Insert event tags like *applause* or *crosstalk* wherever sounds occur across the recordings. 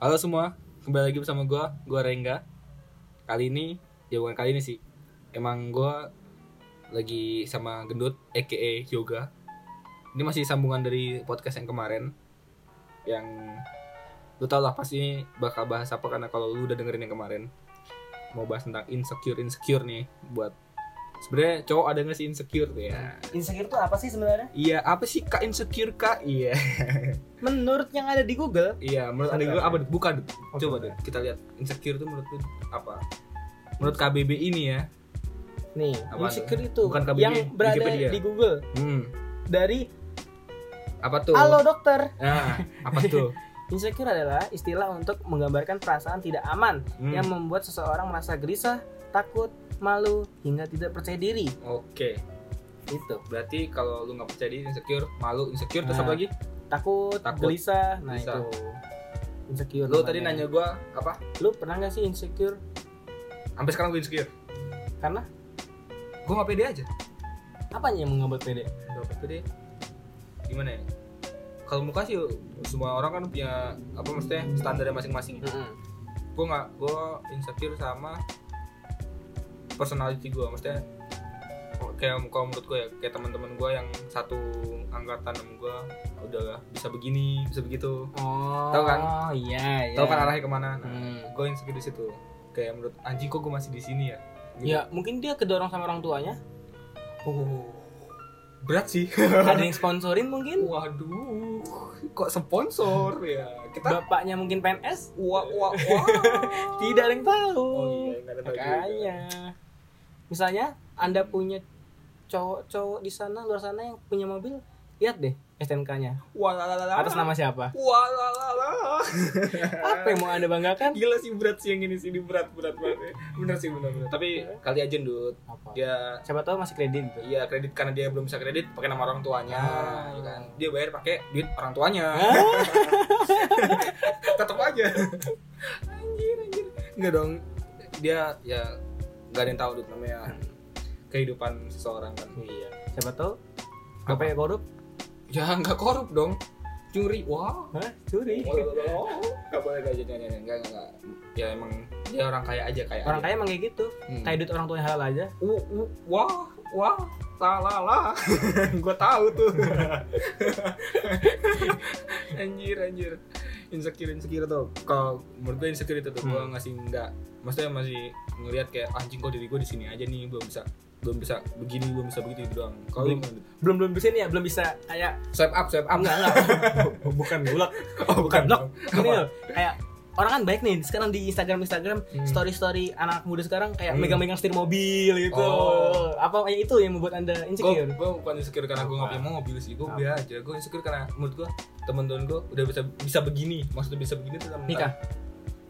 Halo semua, kembali lagi bersama gue, gue Rengga Kali ini, ya bukan kali ini sih Emang gue lagi sama Gendut, aka Yoga Ini masih sambungan dari podcast yang kemarin Yang lu tau lah pasti bakal bahas apa karena kalau lu udah dengerin yang kemarin Mau bahas tentang insecure-insecure nih Buat sebenarnya cowok ada gak sih insecure ya Insecure tuh apa sih sebenarnya? Iya, apa sih kak insecure kak? Iya, Menurut yang ada di Google, iya. Menurut ada gue apa? Dut? Bukan, Dut. Oh, coba deh kita lihat insecure tuh menurut lu apa? Menurut KBB ini ya. nih Apaan insecure tuh? itu Bukan KBBI, yang berada Wikipedia. di Google Hmm. dari Apa tuh? Halo Dokter. Nah, *laughs* apa tuh? Insecure adalah istilah untuk menggambarkan perasaan tidak aman Hmm, yang membuat seseorang merasa gelisah, takut, malu, hingga tidak percaya diri. Oke, Itu berarti kalau lu nggak percaya diri insecure, malu insecure terus Nah, apa lagi? takut, Takut, gelisah. Nah gelisah. itu insecure. Lu tadi nanya namanya. gua apa? lu pernah gak sih insecure? Sampai sekarang gua insecure. Karena Gua nggak pede aja. apanya yang membuat pede? Nggak pede. Gimana ya? Kalau muka sih semua orang kan punya apa maksudnya standarnya masing-masing. ya. gue nggak gue insecure sama personality gue maksudnya kayak kalau menurut gue ya kayak teman-teman gue yang satu angkatan sama gue udah bisa begini bisa begitu Oh, Tahu kan? Iya, iya. tau kan arahnya kemana nah, Hmm. gue insecure di situ kayak menurut anjing kok gue masih di sini ya Gitu. Ya, mungkin dia kedorong sama orang *laughs* tuanya. oh berat sih *laughs* Ada yang sponsorin mungkin? waduh kok sponsor ya kita Bapaknya mungkin PNS? wah wah *laughs* wah Tidak ada yang tahu. oh iya nggak ada tahu juga. Makanya. Misalnya Anda punya cowok-cowok di sana luar sana yang punya mobil, lihat deh STNK-nya. wah la, la, la, la. Atas nama siapa? wah la, la, *laughs* la. Apa yang mau Anda banggakan? gila sih berat sih yang ini sih ini berat berat banget ya. bener sih bener bener tapi kali aja ndut Apa? dia Siapa tahu masih kredit gitu. iya kredit karena dia belum bisa kredit pakai nama orang tuanya Ah. ya kan? dia bayar pakai duit orang tuanya *laughs* tetap aja anjir anjir nggak dong dia ya nggak ada yang tahu duit namanya kehidupan seseorang kan Iya. Siapa tahu Apa? Bapaknya korup? ya nggak korup dong curi wah Hah? Curi. Oh, iya. nggak boleh nggak jadi nggak nggak nggak ya emang dia orang kaya aja kaya Orang aja. kaya emang kayak gitu. Hmm. Kayak duit orang tuanya halal aja. Uh, uh, wah, wah, la la la. *laughs* gue tahu *laughs* tuh. anjir, anjir. Insecure, insecure tuh. Kalau menurut gue insecure itu tuh, gue Hmm. ngasih enggak. Maksudnya masih ngelihat kayak "Ah, anjing kok diri gue di sini aja nih, belum bisa belum bisa begini, belum bisa begitu gitu doang. Kalau lu Belum. Belum belum bisa nih ya, belum bisa kayak swipe up, swipe up. enggak enggak bukan bulak *laughs* Oh, bukan. Blok. ini Apa? loh kayak orang kan baik nih sekarang di Instagram Instagram Hmm. story story anak muda sekarang kayak Hmm. megang-megang setir mobil gitu Oh. apa kayak itu yang membuat anda gue insecure gue bukan insecure karena gue nggak Apa? punya mobil sih gue Apa? biar aja gue insecure karena menurut gue temen-temen gue udah bisa bisa begini maksudnya bisa begini tuh temen- nikah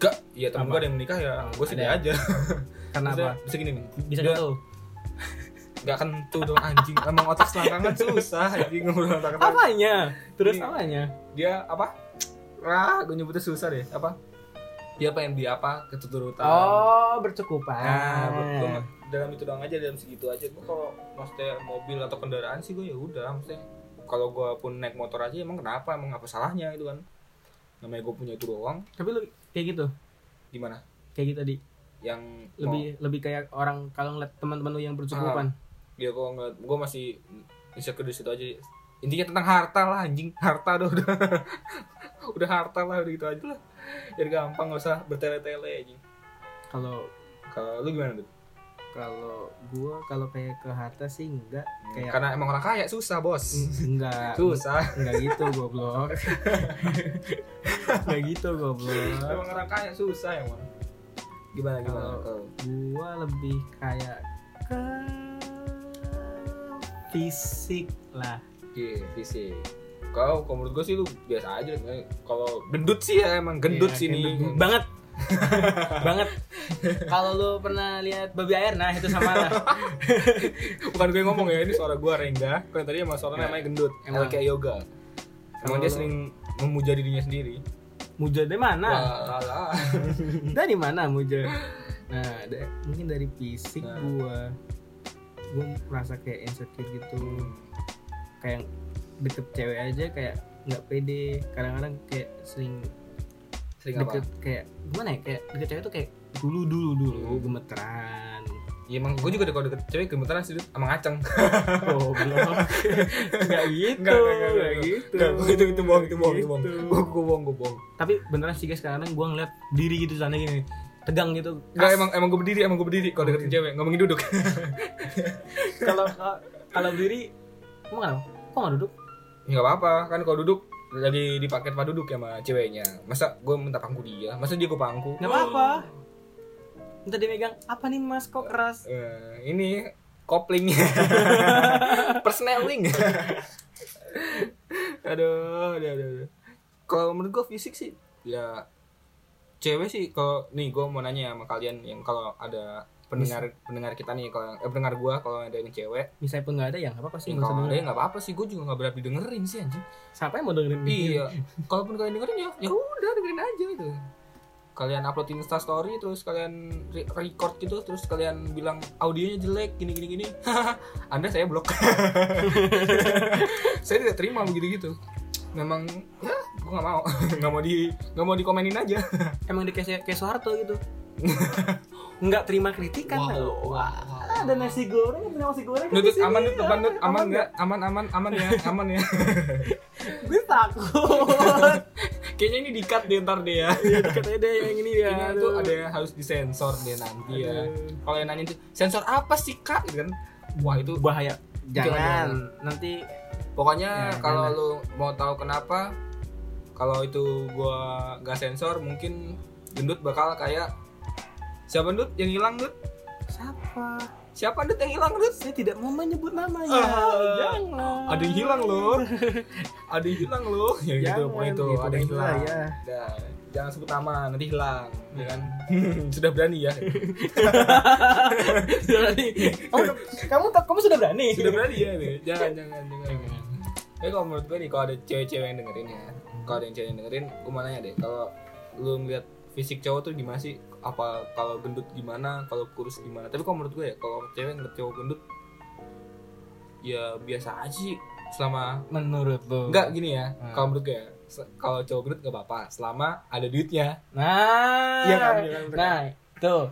Gak, iya temen Apa? gue ada yang menikah ya, Oh, gue sedih ada. aja karena apa Maksudnya Bisa gini nih, bisa Dia- gitu gak kentu dong anjing Emang otak selangkangan susah anjing ngobrol otak selangkangan apanya terus Iya. apanya Dia apa? Ah, gue nyebutnya susah deh, apa? Dia pengen beli apa, keturutan oh Ah. bercukupan Nah, gue dalam itu doang aja, dalam segitu aja Gue kalau maksudnya mobil atau kendaraan sih gue ya udah maksudnya kalau gue pun naik motor aja emang kenapa emang apa salahnya gitu kan namanya gue punya itu doang tapi lu kayak gitu gimana kayak gitu tadi yang mau- lebih lebih kayak orang kalau ngeliat teman-teman lu yang bercukupan dia kok nggak gue masih insecure di situ aja intinya tentang harta lah anjing harta *laughs* udah udah udah harta lah udah gitu aja lah jadi gampang nggak usah bertele-tele anjing kalau kalau lu gimana tuh kalau gua kalau kayak ke harta sih enggak Kayak- karena emang orang kaya susah Hmm. bos Nah, enggak susah Enggak gitu goblok Enggak gitu goblok emang orang kaya susah emang gimana gimana Kalau- kalau Gua lebih kayak ke fisik lah Iya, fisik kau kalau menurut gue sih lu biasa aja kalau gendut sih ya emang gendut Iya, sih nih gendut *laughs* banget banget kalau lu pernah lihat babi air nah itu sama lah bukan gue yang ngomong ya ini suara gue Rengga kalau yang tadi sama Ya. suara namanya gendut Emang. emang kayak yoga emang Kalau dia lu- sering memuja dirinya sendiri muja dari mana Wah, alah. dari mana muja nah da- mungkin dari fisik Nah. gua gua merasa kayak insecure gitu Hmm. kayak deket cewek aja kayak nggak pede kadang-kadang kayak sering sering apa deket kayak gimana ya kayak deket cewek tuh kayak dulu dulu dulu Hmm. *laughs* gemeteran Iya emang gue juga deh kalau deket cewek gemeteran sih Dut. sama ngaceng. *laughs* oh belum nggak gitu Nggak, nggak, nggak, nggak nggak. gitu *laughs* Nggak, itu itu bohong itu bohong itu bohong. Gitu. Gue gue bohong gue bohong. tapi beneran sih guys kadang gue ngeliat diri gitu sana gini tegang gitu Enggak emang emang gue berdiri emang gue berdiri kalau Oh, deketin cewek ngomongin duduk. *laughs* *laughs* kalau kalau berdiri emang kenapa kok nggak duduk Enggak apa-apa kan kalau duduk jadi dipakai tempat duduk ya sama ceweknya. Masa gue minta pangku dia? Masa dia gue pangku? nggak apa apa ntar dia megang apa nih mas kok keras Eh, ini *laughs* kopling persneling aduh aduh aduh, aduh. kalau menurut gue fisik sih ya cewek sih kalau nih gue mau nanya sama kalian yang kalau ada pendengar pendengar kita nih kalau eh, pendengar gue kalau ada yang cewek misalnya pun nggak ada ya nggak apa apa sih sih nggak kalau usah ada dengerin yang nggak apa-apa sih gue juga nggak berani dengerin sih anjing siapa yang mau dengerin iya kalaupun kalian dengerin ya ya udah dengerin aja gitu kalian upload insta story terus kalian re- record gitu terus kalian bilang audionya jelek gini gini *laughs* gini anda saya blok saya tidak terima begitu gitu memang ya gue nggak mau *laughs* nggak mau di nggak mau dikomenin aja emang dia kayak kayak Soeharto *laughs* gitu nggak terima kritikan Wow. loh. Wah, Kan ada nasi goreng ada nasi goreng kan di nutut sini. aman nutut aman nutut aman nggak? nggak aman aman aman ya aman ya gue takut kayaknya ini dikat deh ntar deh ya Iya, *laughs* katanya deh yang ini ya Kayaknya itu aduh. ada yang harus disensor deh nanti ya Aduh. kalau yang nanya itu sensor apa sih kak gitu kan wah itu bahaya jangan, jangan. nanti Pokoknya Ya, kalau jangan. lu mau tahu kenapa kalau itu gua gak sensor mungkin gendut bakal kayak siapa gendut yang hilang gendut? siapa Siapa gendut yang hilang gendut? saya tidak mau menyebut namanya Ah, jangan Ada yang hilang *laughs* loh. Ada yang hilang loh. Ya gitu Jangan, pokoknya itu gitu, ada yang pokoknya hilang. ya. Nah, jangan sebut nama nanti hilang ya kan. Hmm. *laughs* Sudah berani *laughs* ya. Sudah berani. *laughs* kamu oh, kamu kamu sudah berani Sudah berani ya. nih. Jangan jangan jangan. Tapi kalau menurut gue nih kalau ada cewek-cewek yang dengerin ya, kalau ada yang cewek yang dengerin, gue mau nanya deh, kalau lu ngeliat fisik cowok tuh gimana sih? Apa kalau gendut gimana? Kalau kurus gimana? Tapi kalau menurut gue ya, kalau cewek ngeliat cowok gendut, ya biasa aja sih. Selama menurut lo enggak gini ya, Hmm. kalau menurut gue ya, se- kalau cowok gendut gak apa-apa, selama ada *laughs* duitnya. nah Iya kan, iya kan, bener. nah tuh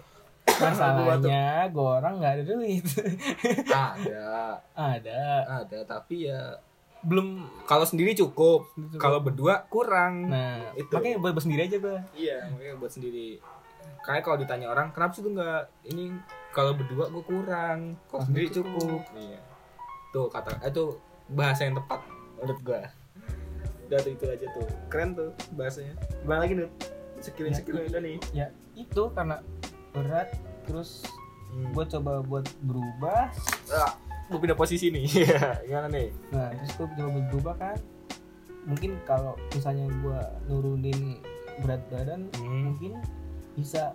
Gua tuh. masalahnya gue orang nggak ada duit ada, ada ada, tapi ya belum kalau sendiri cukup, kalau berdua kurang. nah Itu. makanya buat buat sendiri aja gue Iya, makanya buat sendiri. Kayak kalau ditanya orang, kenapa sih lu nggak ini kalau berdua gue kurang, kalau Ah, sendiri cukup. cukup. Iya. Tuh kata eh, itu bahasa yang tepat menurut gua. Udah tuh itu aja tuh. Keren tuh bahasanya. Iya. Bang lagi nih sekilin sekilin udah nih. ya itu karena berat terus gue coba buat berubah Hmm. ah, gua pindah posisi nih. *laughs* Iya, gimana nih? nah terus gue coba buat berubah kan mungkin kalau misalnya gue nurunin berat badan Hmm, mungkin bisa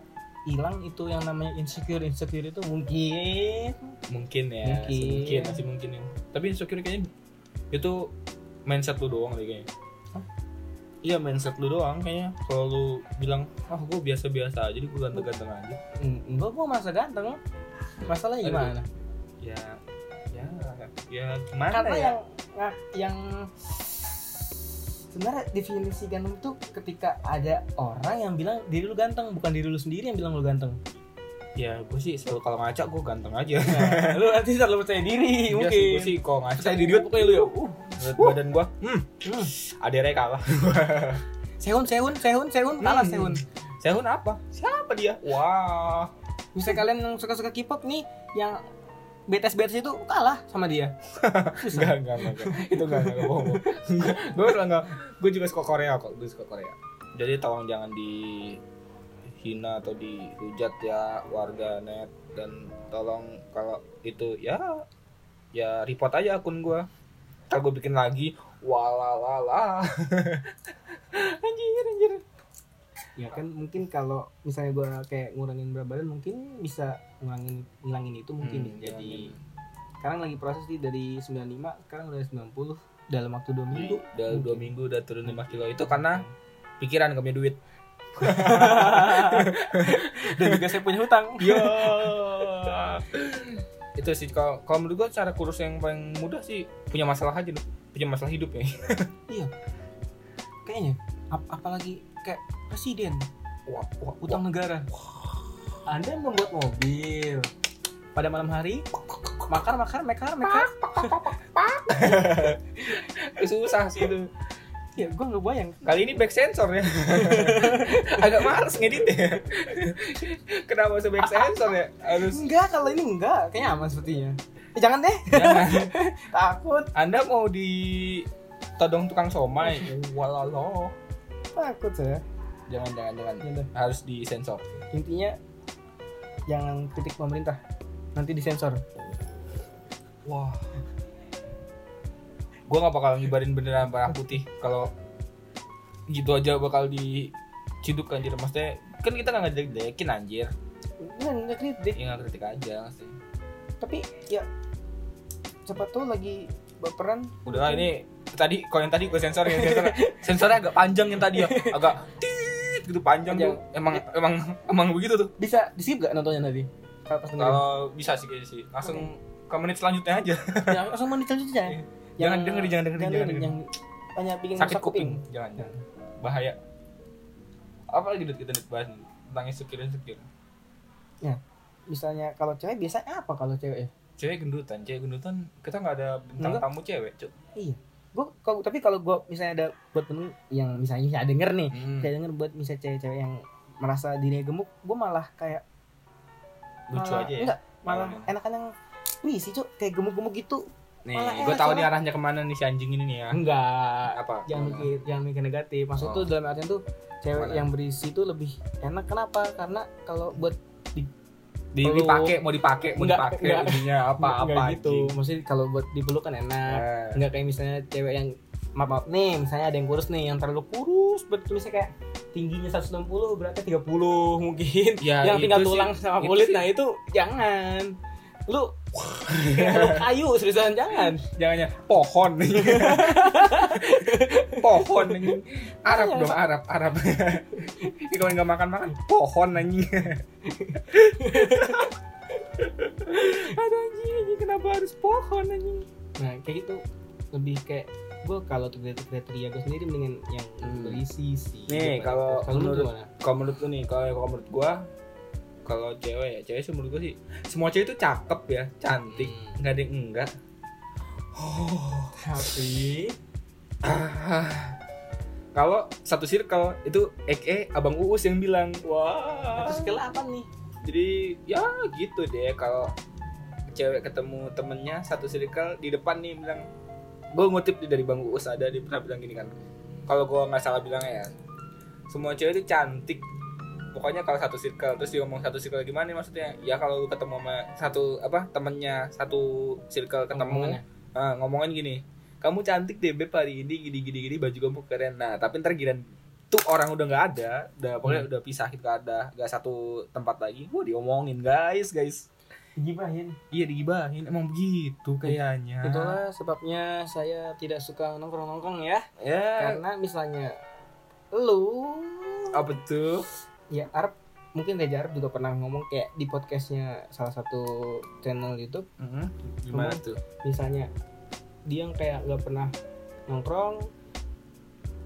hilang itu yang namanya insecure insecure itu mungkin Mungkin ya, Mungkin. mungkin masih mungkin ya. Tapi insecure kayaknya itu mindset lu doang deh kayaknya. Hah? Iya mindset lu doang kayaknya. Kalau lu bilang, ah gue biasa-biasa aja, jadi gue ganteng-ganteng aja. enggak gue masa ganteng masalahnya Aduh. gimana ya ya ya gimana karena ya yang nga- yang sebenarnya definisi ganteng itu ketika ada orang yang bilang diri lu ganteng bukan diri lu sendiri yang bilang lu ganteng ya gue sih selalu kalau ngaca gue ganteng aja nah, lu nanti selalu percaya diri *laughs* Iya mungkin sih, gue sih kalau ngaca percaya diri banget pokoknya lu ya uh, ngeliat badan gue hmm hmm. ada reka kalah sehun sehun sehun sehun kalah Hmm. sehun sehun apa siapa dia wah misalnya kalian yang suka suka K-pop nih yang BTS BTS itu kalah sama dia enggak enggak enggak enggak. itu enggak enggak bohong gue enggak enggak gue juga suka Korea kok gue suka Korea jadi tolong jangan di hina atau dihujat ya warga net dan tolong kalau itu ya ya report aja akun gue ntar gue bikin lagi walalala *laughs* anjir anjir ya kan mungkin kalau misalnya gua kayak ngurangin berat badan mungkin bisa ngurangin ngilangin itu mungkin Hmm, ya. jadi sekarang lagi proses sih dari 95 sekarang udah 90 dalam waktu 2 minggu udah dua minggu udah turun 5 kilo itu *laughs* karena pikiran gak punya duit dan juga saya punya hutang Yo. *laughs* itu sih kalau kalau menurut gua cara kurus yang paling mudah sih punya masalah aja loh. Punya masalah hidup ya. kayaknya ap- apalagi kayak kayak presiden *laughs* Wah, wah, utang negara anda membuat mobil pada malam hari makar makar makar makar wah. *laughs* susah sih itu. ya gue nggak bayang Kali ini back sensor ya. *laughs* Agak males ngedit ya. *laughs* Kenapa usah back sensor ya? Harus enggak kalau ini enggak kayaknya aman sepertinya Eh, jangan deh Jangan. takut Nah, Anda mau di todong tukang somai. Walalo. takut saya Jangan jangan jangan. Jangan deh. Harus disensor. intinya jangan kritik pemerintah nanti disensor Wah. Gua nggak bakal ngibarin bendera merah putih kalau gitu aja bakal diciduk anjir maksudnya kan kita nggak ngejelek-jelekin anjir enggak enggak Iya, kritik ya nggak kritik aja maksudnya tapi ya siapa tuh lagi baperan udah lah, ini tadi kalau yang tadi gue sensor ya sensor sensornya agak panjang yang tadi ya agak tit gitu panjang tuh emang emang emang begitu tuh bisa di skip gak nontonnya nanti kalau pas dengerin kalau bisa sih kayaknya sih langsung ke menit selanjutnya aja ya, langsung mau selanjutnya Iya. Jangan dengerin, jangan dengerin, jangan dengerin. yang hanya bikin sakit rusak kuping jangan jangan bahaya apa lagi Dut, kita Dut, bahas nih? tentang insecure insecure misalnya kalau cewek biasanya apa kalau cewek ya cewek gendutan cewek gendutan kita nggak ada bintang Enggak. tamu cewek cuk gua kalau tapi kalau gua misalnya ada buat temen yang misalnya saya denger nih hmm. saya denger buat misalnya cewek-cewek yang merasa dirinya gemuk gua malah kayak lucu malah, aja ya enggak malah Malah enakan yang wih sih cuk kayak gemuk-gemuk gitu nih malah gue enak, tahu nih malah. arahnya kemana nih si anjing ini nih ya enggak apa jangan gitu. mikir jangan mikir negatif Oh. maksud tuh dalam artian tuh cewek Gimana? yang berisi tuh lebih enak kenapa karena kalau buat Di- Peluk. dipakai mau dipakai mau Enggak, dipakai enggak. ujungnya apa nggak apa Eh, gitu maksudnya kalau buat dipeluk kan enak nggak kayak misalnya cewek yang maaf maaf nih misalnya ada yang kurus nih yang terlalu kurus buat misalnya kayak tingginya 160 beratnya 30 mungkin ya, yang itu tinggal sih. tulang sama itu kulit sih. nah itu jangan lu kayak lu kayu seriusan jangan jangannya ya, pohon *laughs* pohon anjing Arab Iya, dong Pak. Arab Arab Ini kalau nggak makan makan pohon anjing *laughs* ada anjing anjing kenapa harus pohon anjing nah kayak gitu lebih kayak gue kalau untuk kriteria- kriteria gue sendiri mendingan yang Hmm. berisi sih Nih, Gimana? kalau lu menurut- gimana? kalau menurut lu nih kalau kalau menurut gua kalau cewek ya cewek sih menurut gua sih semua cewek itu cakep ya cantik Hmm. nggak ada yang enggak oh tapi Ah. Kalau satu circle itu Eke Abang Uus yang bilang. Wah. terus skala apa nih Jadi ya gitu deh kalau cewek ketemu temennya satu circle di depan nih bilang gue ngutip dari Bang Uus ada dia pernah bilang gini kan kalau gue nggak salah bilangnya ya semua cewek itu cantik pokoknya kalau satu circle terus dia ngomong satu circle gimana nih maksudnya ya kalau lu ketemu sama satu apa temennya satu circle ketemu Omongannya. Ah, ngomongan gini kamu cantik deh beb hari ini gini gini gini baju kamu keren nah tapi ntar giliran tuh orang udah nggak ada udah pokoknya Hmm. udah pisah gitu nggak ada nggak satu tempat lagi wah diomongin guys guys digibahin iya digibahin emang begitu kayaknya itulah sebabnya saya tidak suka nongkrong nongkrong ya ya karena misalnya lu apa tuh ya Arab mungkin Reza Arab juga pernah ngomong kayak di podcastnya salah satu channel YouTube Mhm. gimana tuh misalnya dia yang kayak nggak pernah nongkrong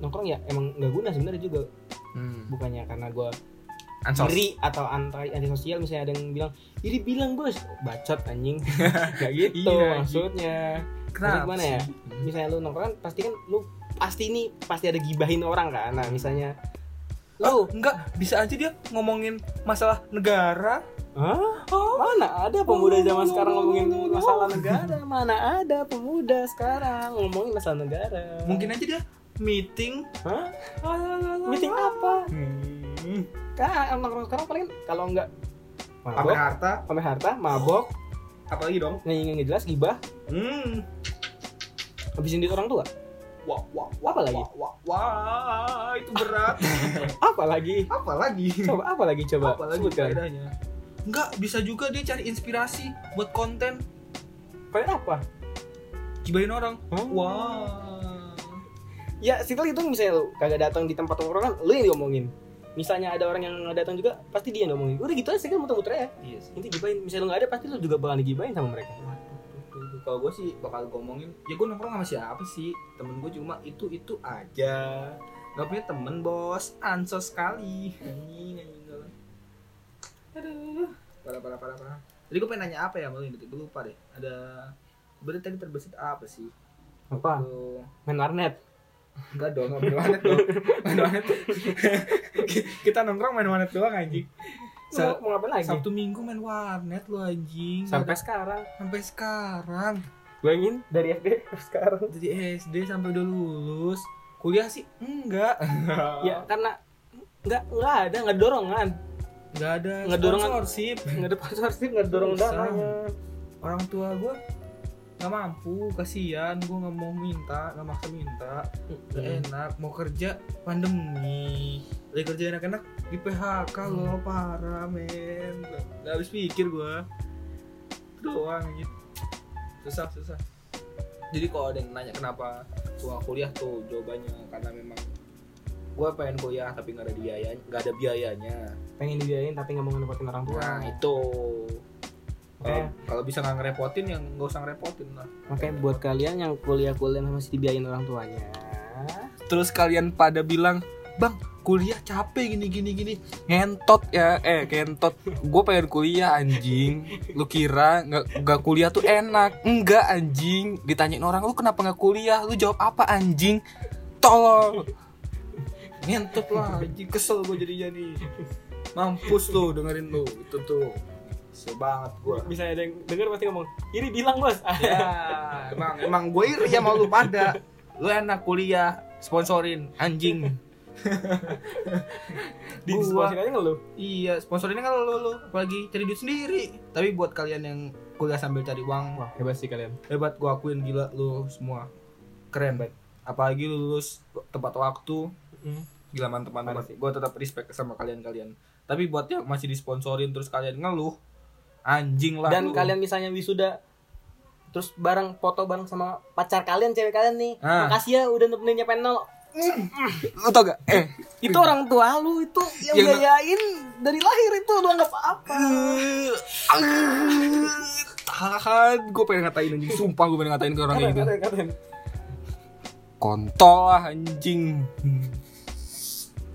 nongkrong ya emang nggak guna sebenarnya juga hmm. bukannya karena gue ansos iri atau anti anti sosial misalnya ada yang bilang iri bilang bos bacot anjing *laughs* kayak gitu Iya, maksudnya kenapa gimana ya? sih? Mhm. misalnya lu nongkrong pasti kan lu pasti ini pasti ada gibahin orang kan nah misalnya Oh, lu enggak bisa aja dia ngomongin masalah negara Hah? mana ada pemuda zaman sekarang ngomongin masalah negara mana ada pemuda sekarang ngomongin masalah negara mungkin aja dia meeting Hah? meeting apa hmm. kan nongkrong sekarang paling kalau enggak pamer mabok harta pamer harta mabok apalagi dong ngingin nggak jelas gibah hmm. habisin duit orang tua Wah, wah, Apa lagi? Wah, wah, wah, itu berat. apa lagi *laughs* apa lagi? coba apa lagi coba Apa lagi sebutkan faedahnya? Enggak, bisa juga dia cari inspirasi buat konten Paling apa gibahin orang. Hah? Wah. ya situ itu misalnya lu kagak datang di tempat tongkrongan lu yang diomongin misalnya ada orang yang nggak datang juga pasti dia yang diomongin udah gitu aja kan muter-muter ya Iya sih. nanti gibain misalnya lu nggak ada pasti lu juga bakal digibain sama mereka Kalau gue sih bakal gua ngomongin, ya gue nongkrong sama siapa sih? Temen gue cuma itu itu aja. Gak punya temen bos, ansos sekali. Anjing, anjing gua. Aduh, parah parah parah parah. Jadi gue pengen nanya apa ya malu ini, gue lupa deh. Ada berarti tadi terbesit apa sih? apa Tuh. main warnet Enggak dong, nggak main warnet dong. Main warnet. *laughs* Kita nongkrong main warnet doang anjing. Sa- mau ngapain lagi Sabtu Minggu main warnet lu anjing. sampai sekarang sampai sekarang. bayangin dari SD *laughs* sampai sekarang Jadi SD sampai udah lulus. Kuliah sih enggak. ya karena nggak nggak ada nggak ada dorongan enggak ada. Nggak dorongan. sponsorship. nggak ada sponsorship nggak ada dorong Susah. dananya orang tua gue nggak mampu kasihan gue nggak mau minta nggak maksa minta nggak Mm. enak mau kerja pandemi lagi kerja enak-enak di PHK lo parah men Nggak- nggak habis pikir gue doang gitu susah susah jadi kalau ada yang nanya kenapa gua kuliah tuh jawabannya karena memang gue pengen kuliah tapi nggak ada biaya nggak ada biayanya pengen dibiayain tapi nggak mau ngerepotin orang tua nah itu Makanya- Nah. Kalau- kalau bisa nggak ngerepotin yang nggak usah ngerepotin lah makanya buat kalian yang kuliah-kuliah masih dibiayain orang tuanya terus kalian pada bilang bang kuliah capek gini gini gini ngentot ya eh ngentot gue pengen kuliah anjing lu kira nggak nggak kuliah tuh enak enggak anjing ditanyain orang lu kenapa nggak kuliah lu jawab apa anjing tolong ngentot lah anjing kesel gue jadinya nih mampus lu dengerin lu itu tuh kesel banget gue bisa ada yang denger pasti ngomong iri bilang bos *laughs* ya emang emang gue iri sama lu pada lu enak kuliah sponsorin anjing di Gua- disposisi aja ngeluh Iya, sponsorinnya kan lo lo apalagi cari duit sendiri. Tapi buat kalian yang kuliah sambil cari uang, wah hebat sih kalian hebat gua akuin gila lo semua. Keren banget. Apalagi lu lulus tepat waktu, gila mantep Parah mantep. sih. Gua tetap respect sama kalian-kalian. Tapi buat yang masih disponsorin terus kalian ngeluh, anjing lah. dan lu. kalian misalnya wisuda terus bareng foto bareng sama pacar kalian cewek kalian nih Ah. makasih ya udah nemenin nyampe nol Mm. lu tau gak? Eh, itu orang tua lu itu yang Yang- biayain dari lahir itu lu nggak apa-apa tahan, gue pengen ngatain anjing. Sumpah gue pengen ngatain ke orang kayak gitu. Keren, keren. kontol lah anjing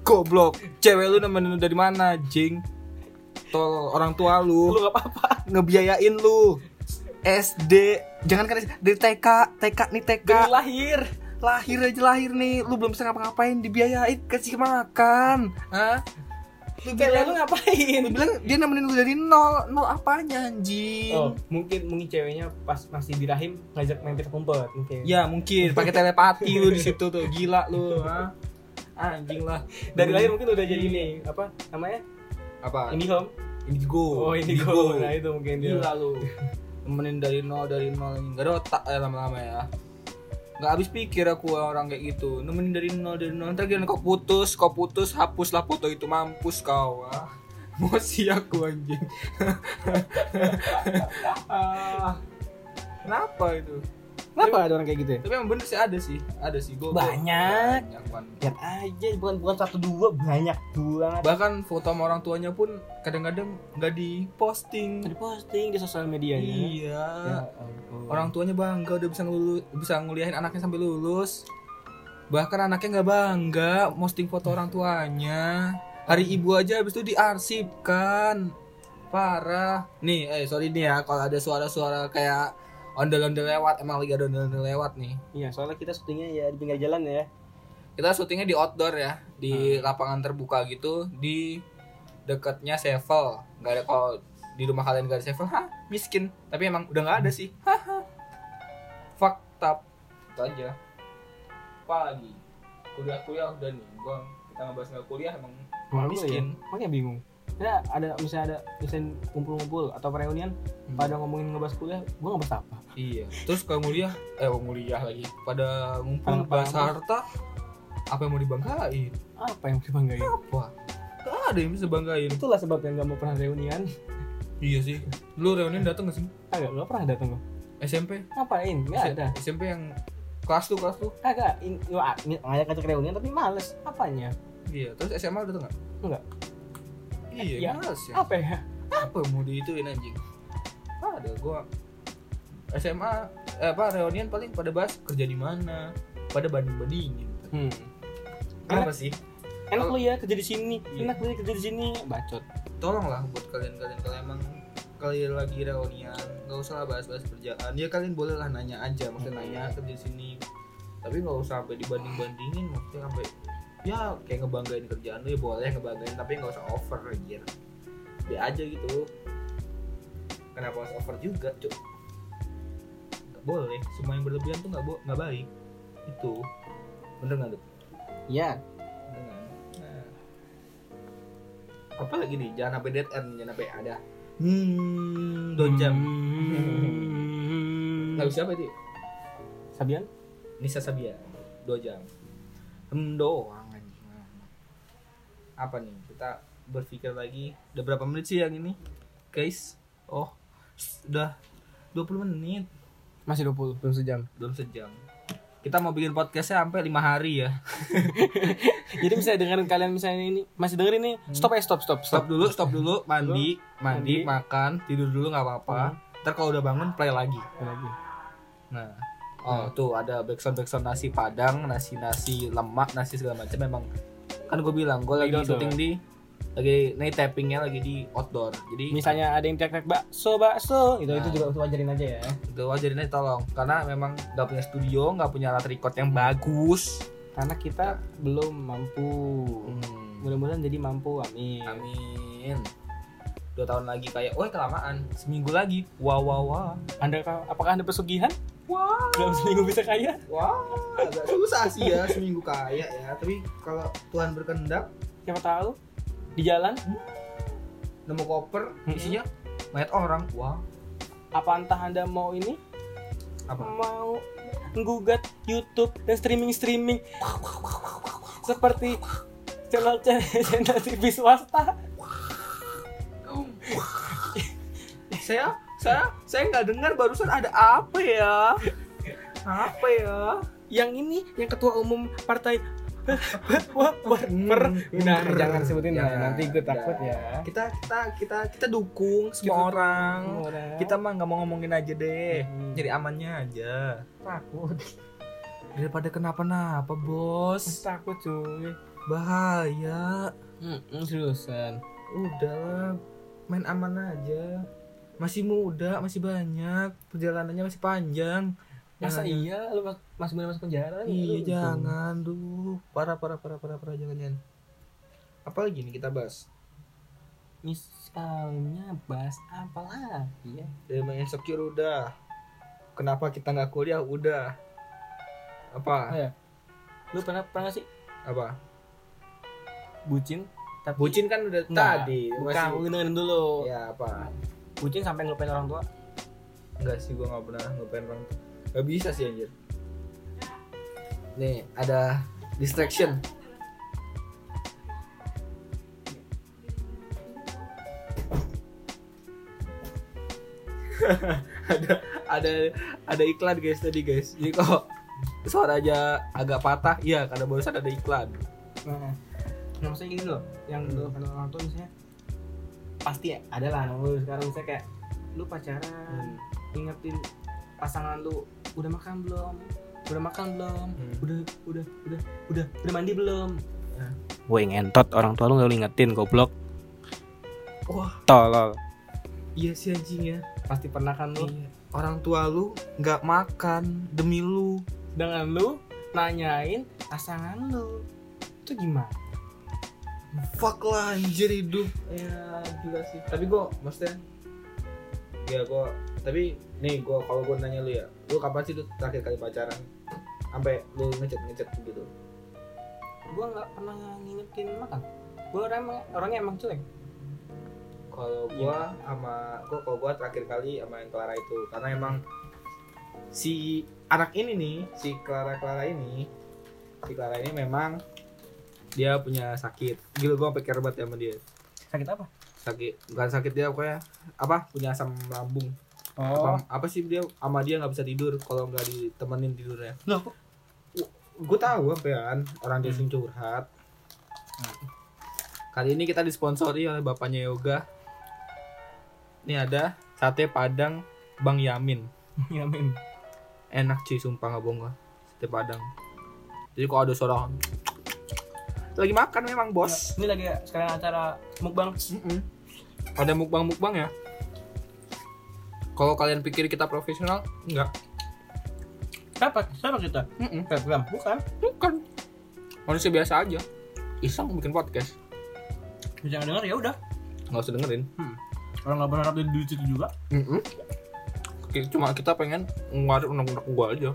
goblok cewek lu nemenin lu dari mana anjing tol orang tua lu lu nggak apa-apa ngebiayain lu SD jangan kan SD, dari TK TK nih TK dari lahir lahir aja lahir nih lu belum bisa ngapa-ngapain dibiayain kasih makan Hah? lu cewek lu bilang, ngapain lu bilang dia nemenin lu dari nol nol apanya anjing oh mungkin mungkin ceweknya pas masih di rahim ngajak main petak umpet mungkin ya mungkin pakai telepati lu di situ tuh gila lu ha? anjing lah dari lahir mungkin udah jadi ini apa namanya apa ini home Indigo. oh ini go nah itu mungkin dia Gila lu. Nemenin dari nol dari nol ini. Gak ada otak ya lama-lama ya. Gak habis pikir aku orang kayak gitu. Nemenin dari nol dari nol. Ntar giliran kau putus, kau putus, hapuslah foto itu mampus kau. Ah. *laughs* Emosi aku anjing. Ah, Kenapa itu? kenapa ada orang kayak gitu ya? Tapi emang bener sih ada sih, ada sih gue. Banyak. Banyak banget. lihat aja bukan bukan satu dua banyak banget Bahkan foto sama orang tuanya pun kadang-kadang nggak diposting. di posting di sosial medianya Iya. Ya ampun. orang tuanya bangga udah bisa ngelulu bisa nguliahin anaknya sampai lulus bahkan anaknya nggak bangga posting foto orang tuanya hari ibu aja habis itu diarsipkan parah nih eh sorry nih ya kalau ada suara-suara kayak ondel-ondel lewat emang lagi ada ondel-ondel lewat nih iya soalnya kita syutingnya ya di pinggir jalan ya kita syutingnya di outdoor ya di lapangan terbuka gitu di dekatnya Sevel nggak ada kalau di rumah kalian nggak ada Sevel hah miskin tapi emang udah nggak ada sih Haha. fakta itu aja apa lagi kuliah kuliah udah nih gua kita ngebahas nggak kuliah emang Malu miskin ya? makanya bingung ada ada misalnya ada misalnya kumpul-kumpul atau reunian Hmm. pada ngomongin ngebahas kuliah gua ngebahas apa iya terus kalau kuliah eh kalau kuliah lagi pada ngumpul Anak-anak. bahas harta apa yang mau dibanggain apa yang mau dibanggain apa nggak ada yang bisa banggain itulah sebabnya nggak mau pernah reunian iya sih lu reunian dateng gak sih agak nggak pernah datang gua SMP ngapain nggak S- ada SMP yang kelas tuh kelas tuh. kagak in- gua a- ngajak ngajak reunian tapi males apanya Iya, terus SMA udah tuh nggak? Nggak. Iya, Iya. males ya. apa ya Apa mau diituin anjing? Ada gua SMA eh, apa reunian paling pada bahas kerja di mana, pada banding bandingin. hmm. Kenapa sih? enak lu ya kerja di sini Iya. enak lu ya kerja di sini bacot Tolonglah buat kalian-kalian kalau emang kalian lagi reunian, nggak usah lah bahas-bahas kerjaan. Ya kalian bolehlah nanya aja, maksudnya Iya. nanya kerja di sini. Tapi nggak usah sampai dibanding-bandingin, maksudnya sampai ya kayak ngebanggain kerjaan lu ya boleh ngebanggain tapi nggak usah over anjir. Be aja gitu. Kenapa harus over juga, Cuk? Nggak boleh, semua yang berlebihan tuh nggak bo- nggak baik. Itu. Bener nggak, Dut? ya dengan eh, apa lagi nih jangan sampai dead end jangan sampai ada hmm dua jam lagu siapa itu Hmm. Sabian Nisa Sabia dua jam hmm doang anjing. apa nih kita berpikir lagi udah berapa menit sih yang ini guys oh udah 20 menit masih 20 belum sejam belum sejam kita mau bikin podcastnya sampai lima hari ya jadi misalnya dengerin kalian misalnya ini masih dengerin nih stop ya stop stop stop stop dulu stop dulu mandi mandi, Hmm. Mandi. makan tidur dulu nggak apa-apa ntar kalau udah bangun play lagi Apa lagi Nah, oh tuh ada backsound backsound nasi padang, nasi nasi lemak, nasi segala macam. Memang kan gue bilang gue lagi Lagi outdoor. syuting di lagi nih tappingnya lagi di outdoor. Jadi misalnya ada yang teriak-teriak bakso bakso itu Nah. itu juga tuh wajarin aja ya itu ajarin aja tolong karena memang gak punya studio, gak punya alat record yang bagus. karena kita belum mampu Hmm. mudah-mudahan jadi mampu amin, Amin. Dua tahun lagi kayak, oh kelamaan. Seminggu lagi, wah wah wah. anda apakah anda pesugihan Wah, dalam seminggu bisa kaya wah, agak susah sih ya seminggu kaya ya. Tapi kalau Tuhan berkehendak, siapa tahu di jalan nemu koper Mm-mm. isinya mayat orang wah apa entah anda mau ini apa mau menggugat YouTube dan streaming streaming seperti channel channel TV swasta saya saya saya nggak dengar barusan ada apa ya apa ya yang ini yang ketua umum partai wah wah Nah, jangan sebutin lah Jangan, nanti gue takut jangan. ya kita kita kita kita dukung semua Kita- orang kita kita mah nggak mau ngomongin aja deh Mm. jadi amannya aja takut daripada kenapa-napa bos takut cuy bahaya seriusan udah main aman aja masih muda masih banyak perjalanannya masih panjang masa Jangan- iya lu mas- masih boleh masuk penjara nih Iya lu? jangan duh parah parah parah parah parah jangan jangan. Apa lagi nih kita bahas? misalnya bahas apa lagi ya Dari main insecure udah. Kenapa kita nggak kuliah udah. Apa? lu pernah pernah nggak sih Apa? bucin tapi Bucin kan udah Nggak, tadi. bukan lu Iya. dengerin dulu Ya apa? bucin sampai ngelupain orang tua Enggak sih gua nggak pernah ngepen orang. Gak bisa sih anjir. Nih ada distraction. *laughs* ada ada ada iklan guys tadi guys. Jadi kok suara aja agak patah, iya karena barusan ada iklan. Nah, nah, maksudnya gini loh, yang Hmm. dulu kenal orang tua misalnya pasti ya, ada lah anak lu sekarang misalnya kayak lu pacaran, ingetin pasangan lu udah makan belum? Udah makan belum? Udah udah udah udah udah mandi belum? Nah. Gue ngentot orang tua lu gak ingetin goblok. Wah, Tolol. iya sih anjing ya. Pasti pernah kan lu Orang tua lu nggak makan demi lu. dengan lu nanyain pasangan lu. Itu gimana? fuck lah anjir hidup ya gila sih tapi gua maksudnya ya gua tapi nih gua kalau gua nanya lu ya lu kapan sih lu terakhir kali pacaran sampai lu ngecek ngecek gitu Gue nggak pernah ngingetin makan. Gue orang emang, orangnya emang cuek. kalau gua sama gua kalau gua terakhir kali sama yang Clara itu karena emang si anak ini nih si Clara Clara ini si Clara ini memang dia punya sakit gila gua sampai care banget ya sama dia Sakit apa? sakit bukan sakit dia pokoknya apa punya asam lambung Oh. apa, apa sih dia sama dia nggak bisa tidur kalau nggak ditemenin tidurnya Loh, gue tahu kan orang dia sering curhat kali ini kita disponsori oleh bapaknya yoga ini ada sate padang bang yamin Iya men. enak cuy sumpah nggak bohong gua. sate padang jadi kalau ada suara lagi makan memang bos ini lagi sekarang acara mukbang Ya. Mm-mm. ada mukbang mukbang ya kalau kalian pikir kita profesional enggak siapa siapa kita Mm-mm. program bukan bukan manusia biasa aja iseng bikin podcast jangan dengar ya udah nggak usah dengerin orang nggak berharap dari duit itu juga Mm-mm. Ki- cuma kita pengen ngeluarin unek-unek gua aja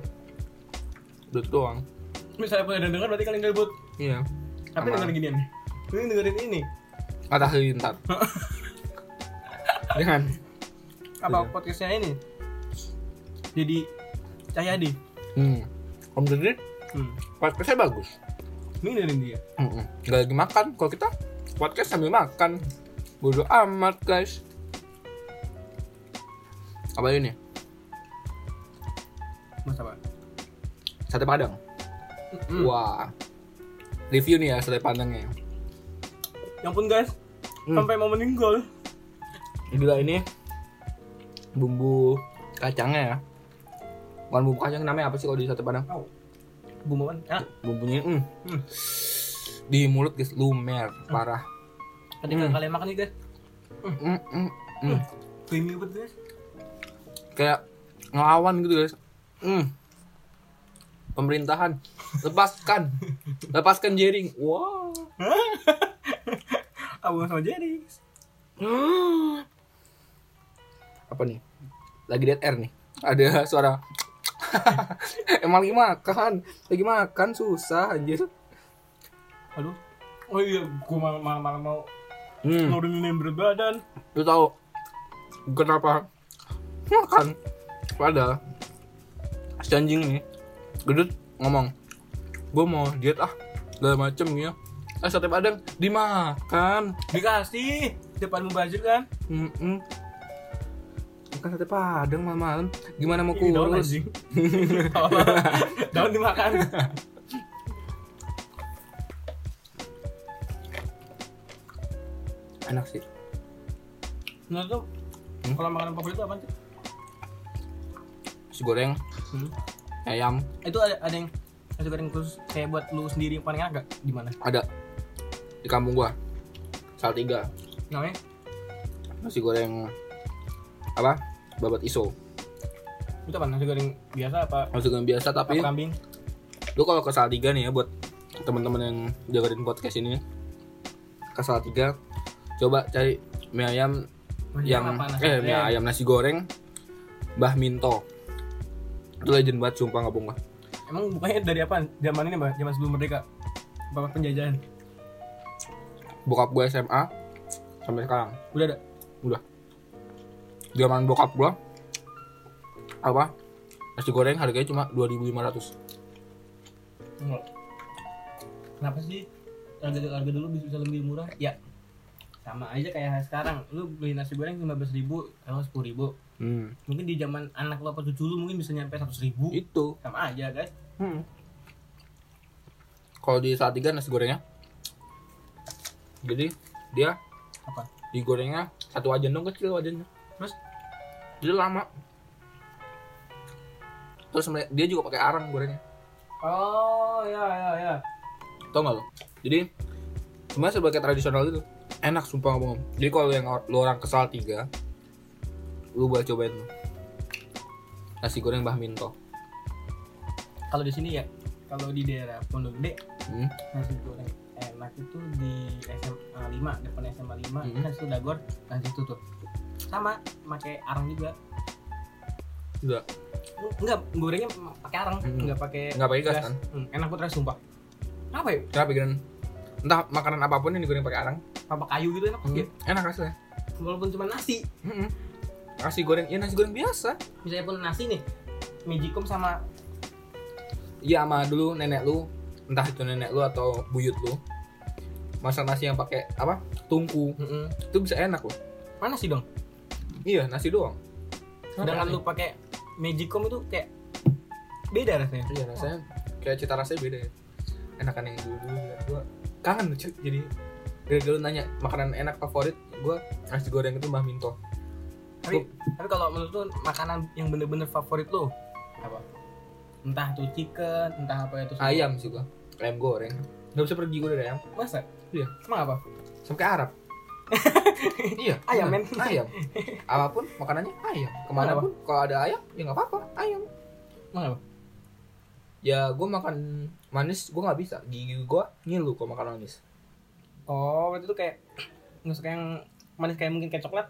Duit doang misalnya punya dengar berarti kalian gabut iya tapi Sama. dengerin ginian ini dengerin ini kata *laughs* halilintar jangan Iya. apa podcastnya ini jadi Cahyadi hmm. om Deddy hmm. podcastnya bagus ini dengerin dia Mm-mm. nggak lagi makan kalau kita podcast sambil makan bodoh amat guys apa ini mas apa sate padang Hmm. wah review nih ya sate padangnya ya ampun guys Hmm. sampai mau meninggal Gila ini ya. bumbu kacangnya ya. Bukan bumbu kacang namanya apa sih kalau di sate Padang? bumbu kan enak Bumbunya mm. Hmm. di mulut guys lumer parah. ketika Hmm. kalian makan nih guys Mm, mm, mm. creamy banget guys Kayak ngelawan gitu guys. Mm. Pemerintahan lepaskan. lepaskan jering. Wow. *laughs* abu sama Jerry apa nih? Lagi dead air nih. Ada suara *laughs* Emang lagi makan, lagi makan susah anjir. aduh oh iya gua malah malah, malah mau Hmm. nurunin berat badan lu tahu kenapa makan pada si anjing nih gedut ngomong gue mau diet ah segala macem ya eh sate padang dimakan dikasih depan mubazir kan Mm-mm. makan sate padang malam-malam gimana mau ini daun kurus anjing *laughs* daun dimakan enak sih menurut lu Hmm? kalau makanan favorit itu apa sih si goreng Hmm. ayam itu ada ada yang ada yang khusus kayak buat lu sendiri yang paling enak gak di mana ada di kampung gua salatiga namanya nasi goreng apa babat iso itu apa nasi goreng biasa apa nasi goreng biasa apa tapi kambing lu kalau ke Salatiga nih ya buat teman-teman yang dengerin podcast ini ya. ke Salatiga coba cari mie ayam Nasi yang goreng apa, nasi eh mie goreng? ayam nasi goreng Mbah Minto itu legend banget sumpah nggak bohong gua. emang bukanya dari apa zaman ini mbak zaman sebelum merdeka apa penjajahan bokap gue SMA sampai sekarang udah ada zaman bokap gue apa nasi goreng harganya cuma 2.500 Enggak. Kenapa sih harga harga dulu bisa, bisa lebih murah? Ya sama aja kayak sekarang. Lu beli nasi goreng lima belas ribu, kalau sepuluh ribu. hmm. Mungkin di zaman anak lo apa cucu lu mungkin bisa nyampe seratus ribu. itu Sama aja guys. Hmm. Kalau di Salatiga nasi gorengnya, jadi dia Apa? digorengnya satu wajan dong kecil wajannya. Terus? Jadi lama. Terus mere- dia juga pakai arang gorengnya, Oh ya ya ya. tau nggak lo? Jadi sebenarnya sebagai tradisional itu enak sumpah ngomong. Jadi kalau yang or- lo orang kesal tiga, lu boleh cobain tuh. nasi goreng Mbah Minto. Kalau di sini ya, kalau di daerah Pondok Gede Hmm. nasi goreng enak itu di SMA 5 depan SMA 5 Mhm. kan situ dagor dan situ tuh sama pakai arang juga Enggak. enggak gorengnya pakai arang Mhm. enggak pakai Nggak pakai gas Gas. kan? Hmm, enak putra sumpah. Kenapa ya? Kenapa pikiran? Entah makanan apapun yang digoreng pakai arang, Papa kayu gitu enak hmm. banget. enak hasilnya. Walaupun cuma nasi, Mm-mm. Nasi goreng, ya nasi goreng biasa. misalnya pun nasi nih. Magicom sama Iya sama dulu nenek lu, entah itu nenek lu atau buyut lu. Masak nasi yang pakai apa? Tungku. Itu bisa enak loh. mana sih dong? Iya, nasi doang. Sedangkan lu Kenapa pakai Magicom itu kayak beda rasanya. nasi? Iya, rasanya kayak cita rasanya beda ya. Enakan yang dulu dulu gua kangen lucu jadi dari dulu nanya makanan enak favorit gua nasi goreng itu Mbah Minto. Tapi tapi kalau menurut lu makanan yang bener-bener favorit lu apa? Entah itu chicken, entah apa itu semua. Ayam sih gua. Ayam goreng. nggak bisa pergi gue dari ayam Masa? Iya. Emang apa? sampai *laughs* Arab iya Ayam, bener. men. ayam apapun makanannya ayam kemana Kenapa? pun kalau ada ayam ya nggak apa-apa ayam Emang apa? ya gue makan manis gue nggak bisa gigi gue ngilu kalau makan manis Oh, berarti itu kayak nggak suka yang manis kayak mungkin kayak coklat.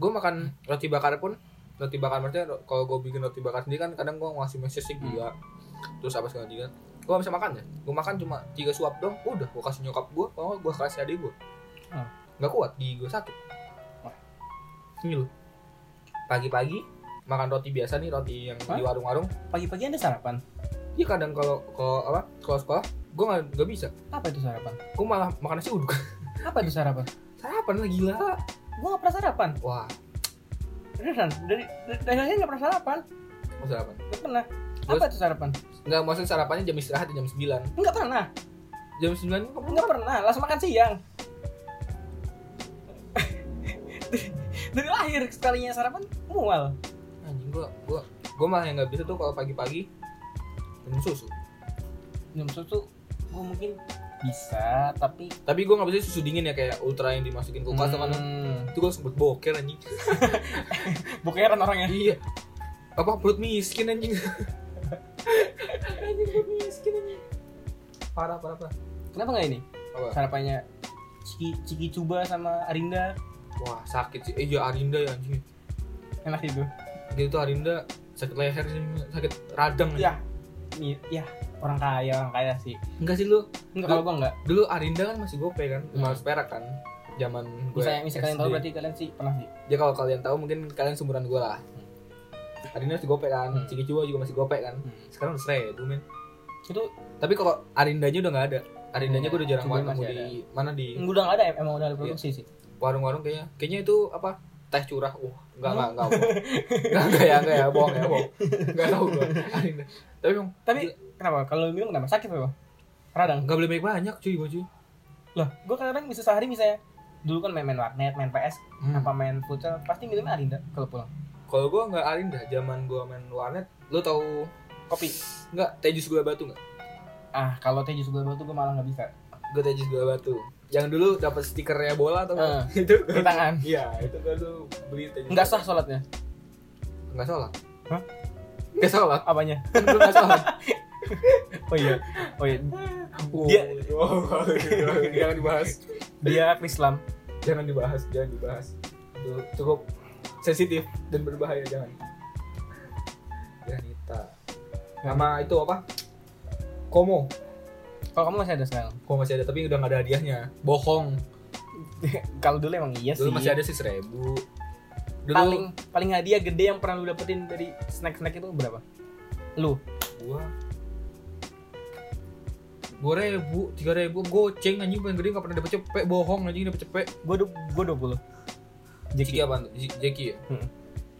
gue makan roti bakar pun roti bakar maksudnya ro- kalau gue bikin roti bakar sendiri kan kadang gue ngasih meses sih juga terus apa segala tiga gue gak bisa makan ya gue makan cuma tiga suap dong udah gue kasih nyokap gue kalau gue kasih adik gue Hmm. nggak kuat gigi gue sakit Wah. ini loh pagi-pagi makan roti biasa nih roti yang di Hah? warung-warung Pagi-pagi ada sarapan. iya kadang kalau kalau apa kalau sekolah gue nggak nggak bisa Apa itu sarapan? gue malah makan nasi uduk *laughs* Apa itu sarapan? sarapan lah gila Gua nggak pernah sarapan. wah Beneran? Dari dari dari lahir nggak pernah sarapan. mau sarapan Nggak pernah. Terus? Apa itu sarapan? nggak maksudnya sarapannya jam istirahat ya, jam 9 Nggak pernah. jam 9 kamu Nggak pernah. Langsung makan siang. *laughs* dari, dari lahir sekalinya sarapan mual. anjing gua gua gua malah yang nggak bisa tuh kalau pagi-pagi minum susu Minum susu gua mungkin bisa tapi tapi gua nggak bisa susu dingin ya kayak ultra yang dimasukin kulkas sama kan hmm, itu gua sempet boker anjing bokeran kan orangnya iya apa perut miskin *laughs* anjing anjing perut miskin anjing parah parah parah kenapa nggak ini Apa? sarapannya ciki ciki cuba sama arinda wah sakit sih eh ya Arinda ya anjing enak itu gitu tuh Arinda sakit leher sih sakit radang anjing. ya Iya, ya orang kaya orang kaya sih enggak sih lu enggak kalau gua enggak dulu Arinda kan masih gope kan Hmm. harus perak kan zaman gue bisa bisa kalian tahu SD. berarti kalian sih pernah sih Ya kalau kalian tahu mungkin kalian sumuran gue lah. Arinda masih gopek kan, Hmm. Ciki Cua juga masih gopek kan. Sekarang udah seribu men. itu Tapi kalau Arindanya udah nggak ada. Arindanya Iya, gue udah jarang Cua banget masih nemu di mana di udah nggak ada em- emang udah ada produksi sih warung-warung kayaknya. Kayaknya itu apa? Teh curah. Wah, enggak enggak enggak. Enggak enggak ya, enggak ya, bohong ya, *laughs* bohong. Enggak tahu gue Arinda. Tapi emang tapi kenapa kalau minum kenapa sakit apa radang enggak boleh banyak banyak cuy gue cuy. lah gua kadang bisa sehari misalnya dulu kan main main warnet main ps Hmm. apa main futsal pasti minumnya arinda kalau pulang Kalau gue nggak Arinda, zaman gue main warnet, lu tahu kopi nggak teh jus gula batu nggak? ah kalau teh jus gula batu gua malah nggak bisa Gue teh jus gula batu. Yang dulu dapat stikernya bola atau nggak? Hmm. *laughs* itu di tangan Iya, itu kan lu beli teh. nggak sah sholatnya Enggak salah. Hah? Enggak salah. *laughs* apanya Kan gua enggak salah. oh iya oh iya *laughs* Dia oh, jangan dibahas. dia Islam Jangan dibahas, jangan dibahas. Itu cukup sensitif dan berbahaya jangan. Janita. Nama itu apa? Komo. kalau kamu masih ada sekarang Komo masih ada tapi udah nggak ada hadiahnya. Bohong. *laughs* kalau dulu emang iya Dulu sih masih ada sih seribu. Dulu paling paling hadiah gede yang pernah lu dapetin dari snack snack itu berapa lu gua dua ribu tiga ribu goceng anjing paling gede nggak pernah dapet cepet bohong anjing dapet cepet gua du- gua dua puluh Jeki apa? Jeki ya? Hmm.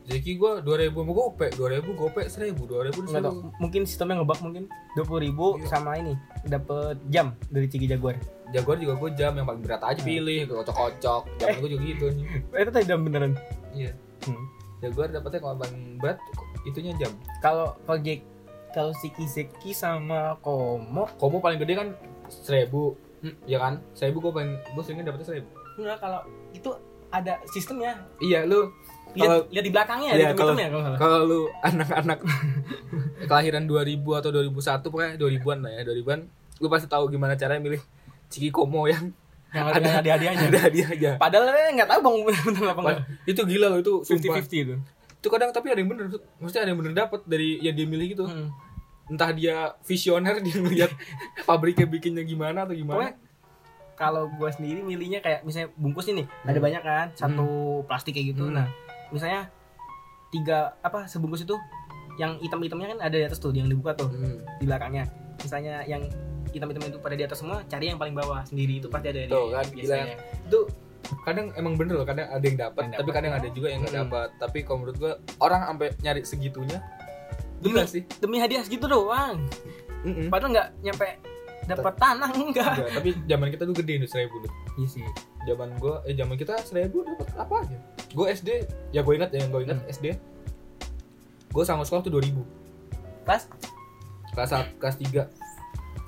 Jeki gue 2000 sama gope, 2000 gope 1000, 2000 nggak tau mungkin sistemnya ngebak mungkin dua puluh ribu Iya. sama ini dapet jam dari Ciki Jaguar 1000. Jaguar juga gue jam yang paling berat aja Hmm. pilih, gue kocok-kocok. Jam gue juga gitu anjing. Eh, itu tadi jam beneran Iya. Hmm. Jaguar dapetnya kalau paling berat itunya jam. kalau kalau Jack kalau Ciki Zeki sama Komo Komo paling gede kan 1000. Hmm, ya kan? 1000 gue paling gue seringnya dapetnya 1000. enggak kalau itu ada sistemnya Iya, lu Kalau- lihat lihat di belakangnya Iya, ada kalau- hitam-hitamnya kalau salah *laughs* kalau lu anak-anak *laughs* kelahiran 2000 atau 2001 pokoknya 2000-an lah ya, 2000-an lu pasti tahu gimana caranya milih Ciki Komo yang *laughs* yang Ada- ada hadiah-hadiahnya ada hadiahnya. Padahal dia nggak tahu bang *laughs* bener apa enggak. Itu gila loh itu Fifty sumpah. fifty itu. itu kadang tapi ada yang bener mesti ada yang bener dapat dari yang dia milih gitu Hmm. entah dia visioner *laughs* dia melihat pabriknya bikinnya gimana atau Pokoknya gimana kalau gua sendiri milihnya kayak misalnya bungkus ini Hmm. ada banyak kan satu plastik kayak gitu. Hmm. Nah misalnya tiga apa sebungkus itu yang hitam-hitamnya kan ada di atas tuh yang dibuka tuh Hmm, di belakangnya. Misalnya yang hitam-hitam itu pada di atas semua cari yang paling bawah sendiri itu pasti ada di Tuh kan, gila. biasanya. itu kadang emang bener loh kadang ada yang dapat Yang tapi dapet. kadang ada juga yang nggak Hmm. dapat tapi kalau menurut gua orang sampai nyari segitunya Demi, gila sih demi hadiah segitu doang. Mm-mm. Padahal nggak nyampe dapat tanah *laughs* enggak. Iya, tapi zaman kita tuh gede nih seribu tuh. Iya sih. zaman gua eh zaman kita seribu dapat apa aja gua SD ya gua ingat ya, yang gua Hmm. ingat SD gua sama sekolah tuh 2000 Pas kelas sat- kelas 3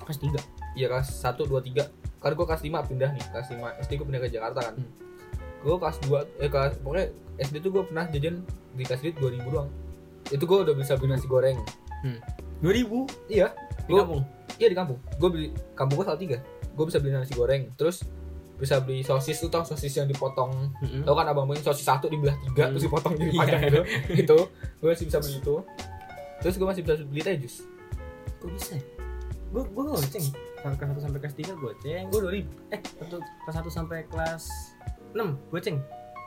kelas tiga. ya kelas 1 2 3 karena gue Kan kelas 5 pindah nih kelas 5 SD gue pindah ke Jakarta kan Hmm. gue kelas 2 eh kelas pokoknya SD tuh gue pernah jajan di kasir 2000 doang itu gue udah bisa beli nasi goreng dua ribu iya di Gua- kampung iya di kampung gue beli kampung gue salah tiga gue bisa beli nasi goreng terus bisa beli sosis tuh tau sosis yang dipotong Mm-mm. tau kan abang beli sosis satu dibelah tiga Hmm. terus dipotong jadi Iya. panjang *laughs* gitu itu gue masih bisa beli itu terus gue masih bisa beli teh jus Kok bisa ya? Gue gue goceng. Sampai kelas 1 sampai kelas 3 goceng. gue Oh, dua ribu Eh, untuk kelas 1 sampai kelas 6 goceng.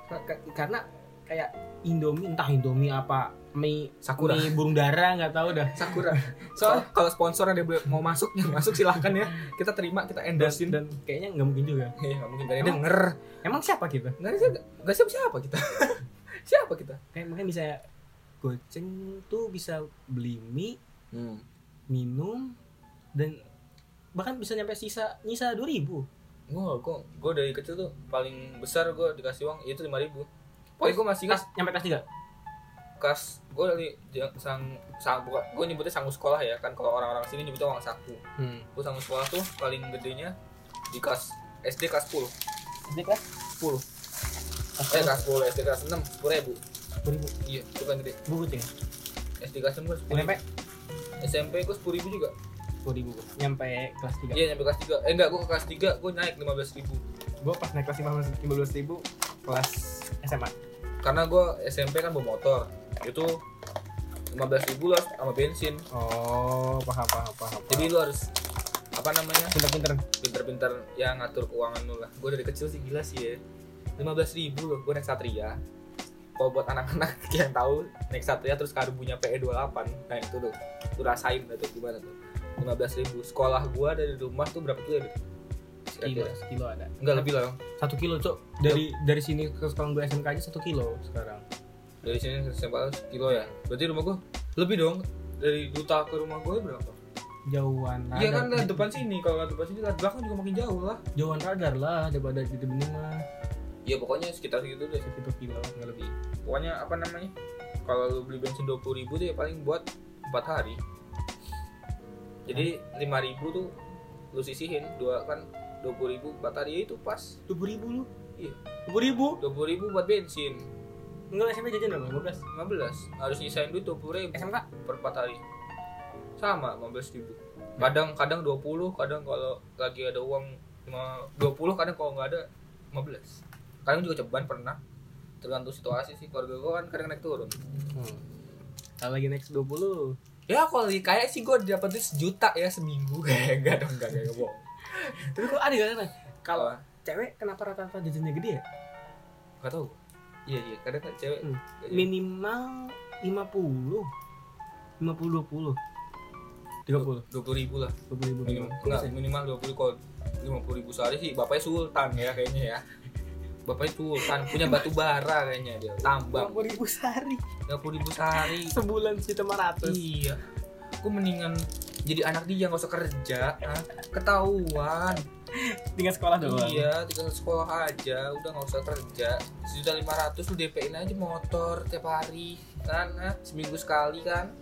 Ka- ka- Karena kayak Indomie entah Indomie apa mie sakura mie burung dara nggak tahu dah. Iya, sakura soal kalau sponsor yang dia boleh- mau masuk ya masuk silahkan ya kita terima kita endorsein dan kayaknya nggak mungkin juga. Eh, nggak mungkin gak ada yang denger Emang siapa gitu? kita? nggak ada siapa nggak siapa siapa kita *laughs* siapa kita Kayak mungkin bisa goceng tuh bisa beli mie, Hmm. minum dan bahkan bisa nyampe sisa nyisa 2000. gue gue gue dari kecil tuh paling besar gue dikasih uang itu lima ribu pokoknya gue masih ingat Kelas nyampe kelas 3. kas gue dari ja- sang sang gue nyebutnya sangu sekolah ya kan kalau orang-orang sini nyebutnya uang saku Hmm. gue sangu sekolah tuh paling gedenya di kelas SD kelas 10 SD kelas 10 eh kelas 10 SD kelas 6 10 ribu iya itu kan gede Gue goceng. SD kelas 6 gue 10 ya? Nyampe ribu SMP gue 10 ribu juga 2000 gua. nyampe kelas 3 iya nyampe kelas 3 eh enggak gue ke kelas 3 gue naik 15 ribu gue pas naik kelas 15 15 ribu kelas SMA karena gue SMP kan bawa motor itu 15 ribu lah sama bensin oh paham paham paham jadi jadi lu harus apa namanya pinter-pinter pinter-pinter ya ngatur keuangan lu lah gue dari kecil sih gila sih ya 15 ribu loh gue naik satria kalau buat anak-anak *laughs* yang tahu naik satria terus karbunya PE28 nah itu tuh tuh rasain dah tuh gimana tuh 15 ribu sekolah gue dari rumah tuh berapa kilo ya kilo kira-kira kilo ada enggak lebih lah Bang. satu kilo cok dari dari sini ke sekolah gue SMK aja satu kilo sekarang dari sini ke SMA kilo ya berarti rumah gue lebih dong dari duta ke rumah gue berapa jauhan iya kan radar. lah depan sini kalau nggak depan sini lah belakang juga makin jauh lah jauhan radar lah daripada di Bening mah iya pokoknya sekitar segitu deh satu kilo nggak lebih pokoknya apa namanya kalau lu beli bensin dua puluh ribu tuh ya paling buat empat hari jadi lima ribu tuh lu sisihin dua kan dua puluh ribu empat hari ya itu pas dua ribu lu Iya. dua ribu dua puluh ribu buat bensin enggak SMP jajan berapa dua belas lima belas harus nyisain duit dua puluh ribu SMK per empat hari sama lima belas ribu kadang kadang dua puluh kadang kalau lagi ada uang cuma dua puluh kadang kalau nggak ada lima belas kadang juga ceban pernah tergantung situasi sih keluarga gua kan kadang naik turun hmm. kalau lagi next dua puluh ya kalau lagi kaya sih gue dapetin sejuta ya seminggu *laughs* kayak enggak dong enggak kayak bohong tapi kok ada gak kan kalau kalau cewek kenapa rata-rata jajannya gede Iya. ya nggak tahu iya iya kadang kan cewek Hmm. minimal 50 50 20 30 dua puluh ribu lah 20 ribu minimal enggak minimal dua puluh kalau lima puluh ribu sehari sih bapaknya sultan ya kayaknya ya bapaknya sultan punya batu bara kayaknya dia tambang ribu sehari dua puluh ribu sehari sebulan sih cuma ratus iya aku mendingan jadi anak dia nggak usah kerja ah. ketahuan tinggal sekolah doang Iya, tinggal sekolah aja, udah nggak usah kerja. Sejuta lima ratus lu DP-in aja motor tiap hari, kan? ah, seminggu sekali kan?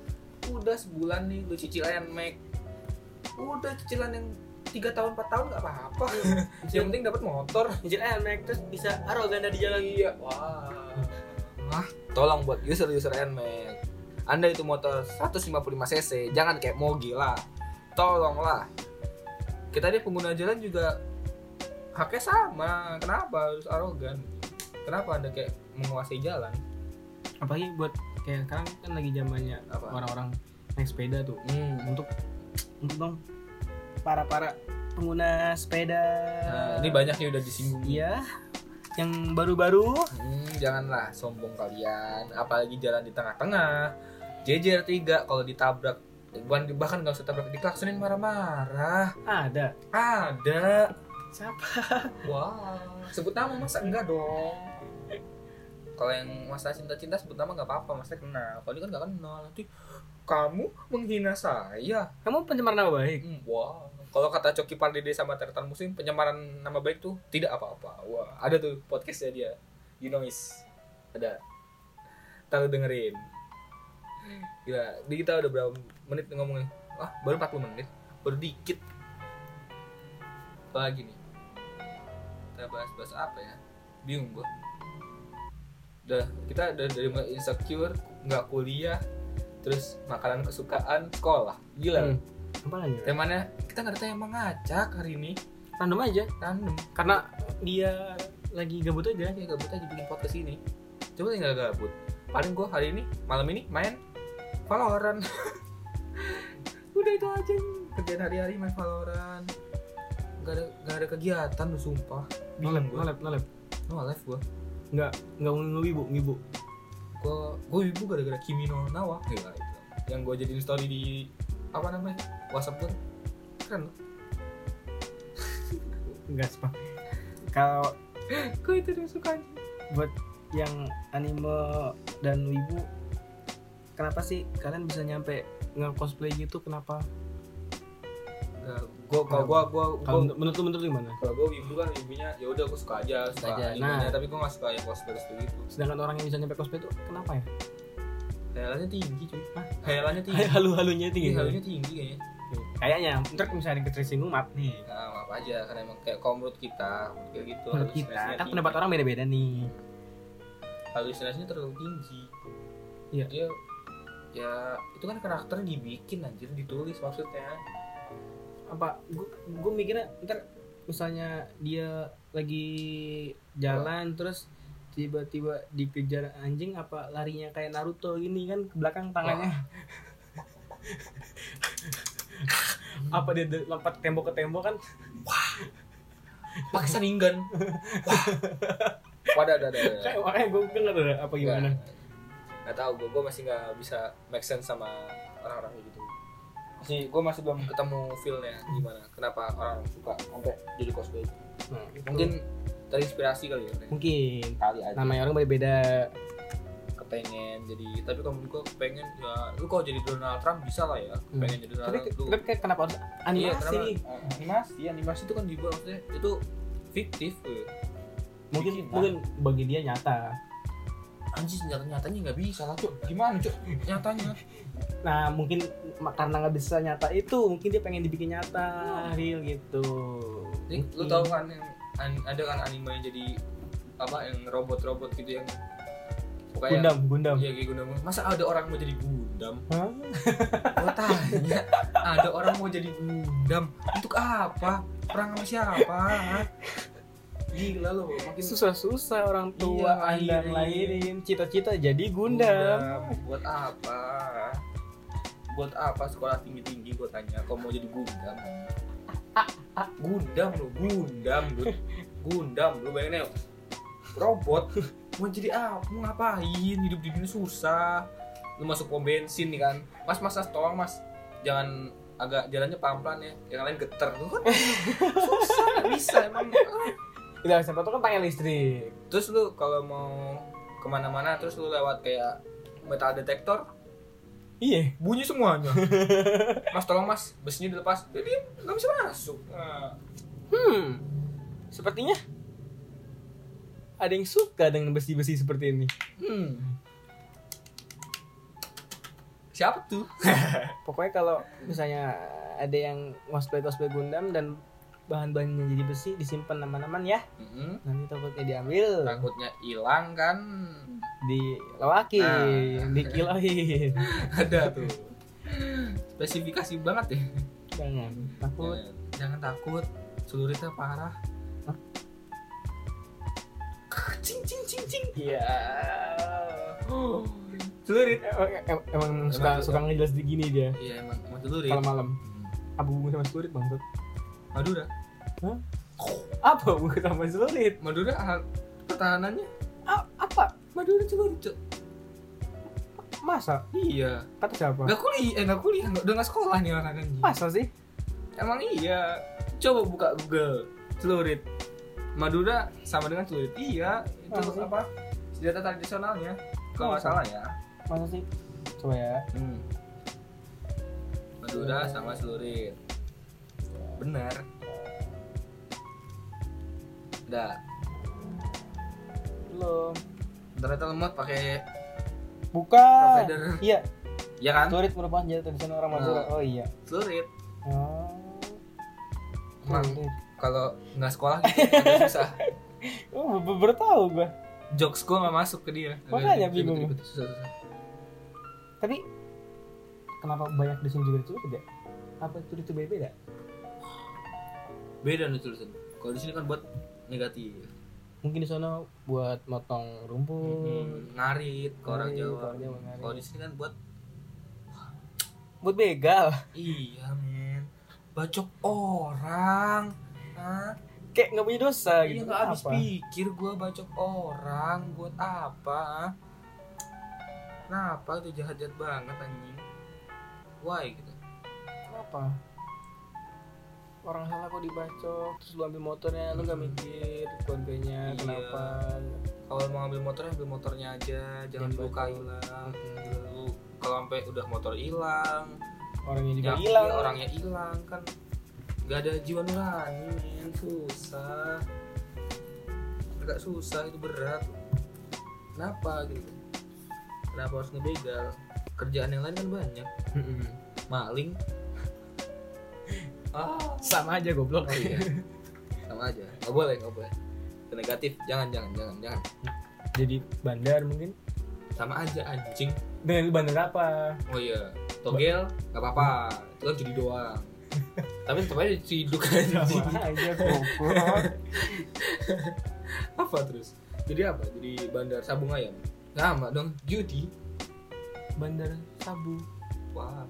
Udah sebulan nih lu cicil aja Mac. Udah cicilan yang tiga tahun empat tahun nggak apa-apa. *laughs* yang penting dapat motor. Anjir eh naik terus bisa arogan di jalan Iya, wah. Nah, tolong buat user-user Nmax. Anda itu motor 155 cc, jangan kayak mogi lah. Tolonglah. Kita ini pengguna jalan juga haknya sama. Kenapa harus arogan? Kenapa Anda kayak menguasai jalan? apalagi buat kayak sekarang kan lagi zamannya Apa? orang-orang naik sepeda tuh Hmm. untuk untuk dong para para pengguna sepeda Nah, ini banyak yang udah disinggung. iya yang baru-baru Hmm, janganlah sombong kalian, apalagi jalan di tengah-tengah. Jejer tiga kalau ditabrak Bukan- bahkan nggak usah tabrak diklaksonin marah-marah ada ada siapa Wah, sebut nama masa enggak dong? Kalau yang masa cinta-cinta sebut nama nggak apa-apa, masa kenal. Kalau ini kan nggak kenal, nanti kamu menghina saya. kamu pencemar nama baik Hmm, Wah, kalau kata Coki Pardede sama Tertan Musim, penyamaran nama baik tuh tidak apa-apa. Wah, ada tuh podcastnya dia, You Noise. Ada. Ntar lu dengerin. Gila, ini kita udah berapa menit ngomongnya? Ah, baru 40 menit. Baru dikit. apalagi nih kita bahas bahas apa ya bingung gua udah kita dari dari mulai insecure nggak kuliah terus makanan kesukaan sekolah gila Hmm. apa lagi Bang? temanya kita nggak ada tema ngacak hari ini random aja random karena dia lagi gabut aja ya gabut aja bikin podcast ini coba tinggal gabut paling gua hari ini malam ini main Valorant *laughs* udah itu aja kerjaan hari-hari main Valorant nggak ada nggak ada kegiatan lu sumpah nolep Bingung gua. nolep nolep no life gua nggak oh, nggak mau ngibu ngibu gua gua ibu gara-gara Kimi no Nawa Gila, itu. yang gua jadiin story di apa namanya WhatsApp gua keren loh nggak sepak kalau gua itu udah suka aja buat yang anime dan wibu kenapa sih kalian bisa nyampe nge cosplay gitu kenapa Nggak, gua kalau gua gua gua kalau menurut- menurut lu menurut lu gimana kalau gua ibu kan ibunya ya udah gua suka aja suka aja. animenya, Nah. tapi gua nggak suka yang cosplay cosplay gitu sedangkan orang yang bisa nyampe cosplay itu kenapa ya Khayalannya tinggi cuy Khayalannya tinggi kayak Iya. *laughs* halu-halunya Tinggi tinggi halunya tinggi kayaknya kayaknya ntar misalnya kita singgung maaf nih Nah maaf aja Karena emang kayak kalau menurut kita Kayak gitu menurut kita kan pendapat orang beda-beda nih Halusinasinya terlalu tinggi Iya. Dia Ya itu kan karakter dibikin anjir Ditulis maksudnya apa gue mikirnya ntar misalnya dia lagi jalan terus tiba-tiba dikejar anjing apa larinya kayak Naruto gini kan ke belakang tangannya apa dia de- lompat tembok ke tembok kan Pakai *laughs* seringan Wah Wadah ada ada kayak makanya gue kan ada apa gimana Gak tau gue Gue masih gak bisa Make sense sama Orang-orang kayak gitu masih gue masih belum ketemu feelnya gimana kenapa orang suka sampai jadi cosplay Nah, itu. mungkin terinspirasi kali ya Ren. mungkin kali aja namanya orang beda-beda kepengen jadi tapi kalau menurut gua kepengen ya lu kalau jadi Donald Trump bisa lah ya pengen jadi Donald Hmm. tapi, Trump lu tapi kayak kenapa harus Iya, animasi kenapa? Eh, animasi animasi itu kan dibuat maksudnya itu fiktif eh. gue mungkin Bikin nah. lah. mungkin bagi dia nyata anjir nyata nyatanya nggak bisa lah cok gimana cok nyatanya Nah mungkin ma- karena nggak bisa nyata itu mungkin dia pengen dibikin nyata real gitu. jadi, lu Mungkin. tahu kan yang an- ada kan anime yang jadi apa yang robot-robot gitu yang pokoknya Gundam, Gundam. Iya kayak Gundam. Masa ada orang mau jadi Gundam? Hah? Gua tanya, *laughs* ada orang mau jadi Gundam untuk apa? Perang sama siapa? Hah? Gila lo, makin Susah-susah orang Iya, tua anda lahirin. ngelahirin cita-cita jadi Gundam. Buat apa? Buat apa sekolah tinggi-tinggi gue tanya Kau mau jadi Gundam Gundam lu, Gundam lu Gundam lu bayangin ya Robot Mau jadi apa? Mau ngapain? Hidup di dunia susah Lu masuk pom bensin nih kan Mas, mas, mas, tolong mas Jangan agak jalannya pelan-pelan ya Yang lain geter Lu kan susah, nggak bisa emang Tidak siapa tuh kan pakai listrik. Terus lu kalau mau kemana-mana terus lu lewat kayak metal detektor Iya. bunyi *laughs* semuanya mas tolong mas busnya dilepas dia diem, nggak bisa masuk Nah, Hmm. Sepertinya ada yang suka dengan besi-besi seperti ini. hmm. siapa tuh Pokoknya kalau misalnya ada yang cosplay cosplay Gundam dan bahan-bahannya jadi besi disimpan aman-aman ya. Mm-mm. Nanti takutnya diambil. takutnya hilang kan dilewaki, Nah. dikiloin. ada tuh spesifikasi banget ya *laughs* Jangan takut. jangan, jangan takut celuritnya parah cing cing cing cing Iya. Oh, celurit Emang, em- emang suka Emang- suka ngejelas di gini dia iya emang emang celurit Hmm. kalau malam. Apa hubungan sama celurit bang? Madura Apa hubungan sama celurit? Madura ah, pertahanannya A- apa? Madura celurit Cok. Masa? iya Kata siapa? Gak kuliah, eh gak kuliah, nggak- udah gak sekolah nih orang anjing Masa sih? Emang iya Coba buka Google Celurit Madura sama dengan celurit Iya, itu Masa sih? apa Senjata tradisionalnya Kalau nggak Masa? salah ya Masa sih? Coba ya. hmm. Madura sama celurit Benar Udah, Belum. ternyata lemot pakai Bukan. provider Iya, Ya kan? celurit merupakan senjata tradisional orang Madura. Oh iya. Celurit Oh. Emang Celurit. kalau nggak sekolah gitu agak susah Oh, ber- baru tahu gua. jokes gue nggak masuk ke dia Agak Makanya ribet, bingung. ribet, ribet, susah, susah. Tapi kenapa banyak di sini juga diculik ya? Apa itu itu beda? Beda nih tulisan. Kalau di sini kan buat negatif. Mungkin di sana buat motong rumput. Hmm, narit ke orang Narit, Jawa. orang Jawa, narit. Kalau di sini kan buat Buat begal. *laughs* iya men. Bacok orang. Hah? Kayak nggak punya dosa Iya gitu. nggak habis Apa? pikir gua bacok orang buat apa? Kenapa tuh jahat-jahat banget anjing? Why gitu. Kenapa? Orang salah kok dibacok, terus lu ambil motornya, lu gak mikir keluarganya Iya. kenapa? Kalau mau ambil motornya ambil motornya aja, jangan Jangan luka bacok. hilang. Lu kalau sampai udah motor hilang, Orangnya juga Ya, hilang. iya, orangnya hilang kan nggak ada jiwa nurani men susah agak susah itu berat kenapa gitu kenapa harus ngebegal kerjaan yang lain kan banyak maling *laughs* ah Sama aja goblok. oh iya sama aja nggak boleh nggak boleh Itu negatif jangan jangan jangan jangan Jadi bandar mungkin. sama aja anjing Dengan lu bandar apa? oh iya togel nggak apa-apa itu kan judi *laughs* doang tapi tetap aja ciduk anjing aja goblok. apa terus jadi apa jadi bandar sabung ayam sama dong judi *laughs* bandar sabu. wah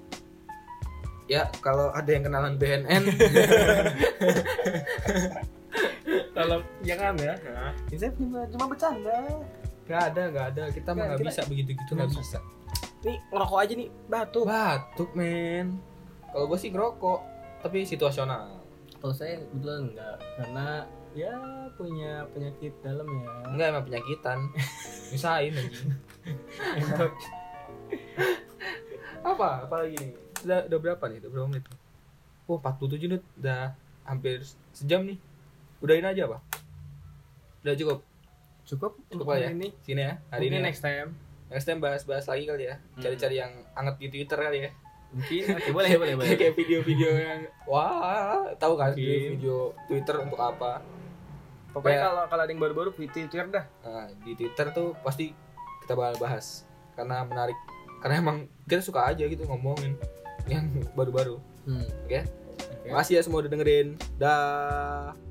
ya kalau ada yang kenalan BNN Kalau jangan ya. Ini saya cuma, cuma bercanda. *laughs* nggak ada nggak ada kita mah Nggak, nggak kita- bisa begitu gitu nggak bisa Nih ngerokok aja nih batu. batuk men kalau gue sih ngerokok tapi situasional Kalau saya kebetulan enggak karena ya punya penyakit dalam ya. enggak emang *laughs* penyakitan misain *laughs* anjing apa apalagi nih udah, udah berapa nih udah berapa menit Oh, Wah 47 menit udah hampir sejam nih udahin aja pak udah cukup Cukup Cukup untuk lah ya. hari ini. sini ya hari ini Mungkin ya. next time. next time bahas-bahas lagi kali ya cari-cari yang anget di twitter kali ya Mungkin *laughs* oke boleh boleh boleh. kayak video-video yang wah tahu kan Mungkin. video twitter untuk apa Pokoknya Kayak- kalau kalau ada yang baru-baru tweet Twitter dah. Nah, di Twitter tuh pasti kita bakal bahas karena menarik karena emang kita suka aja gitu ngomongin yang baru-baru. Hmm. Makasih ya semua udah dengerin. Dah.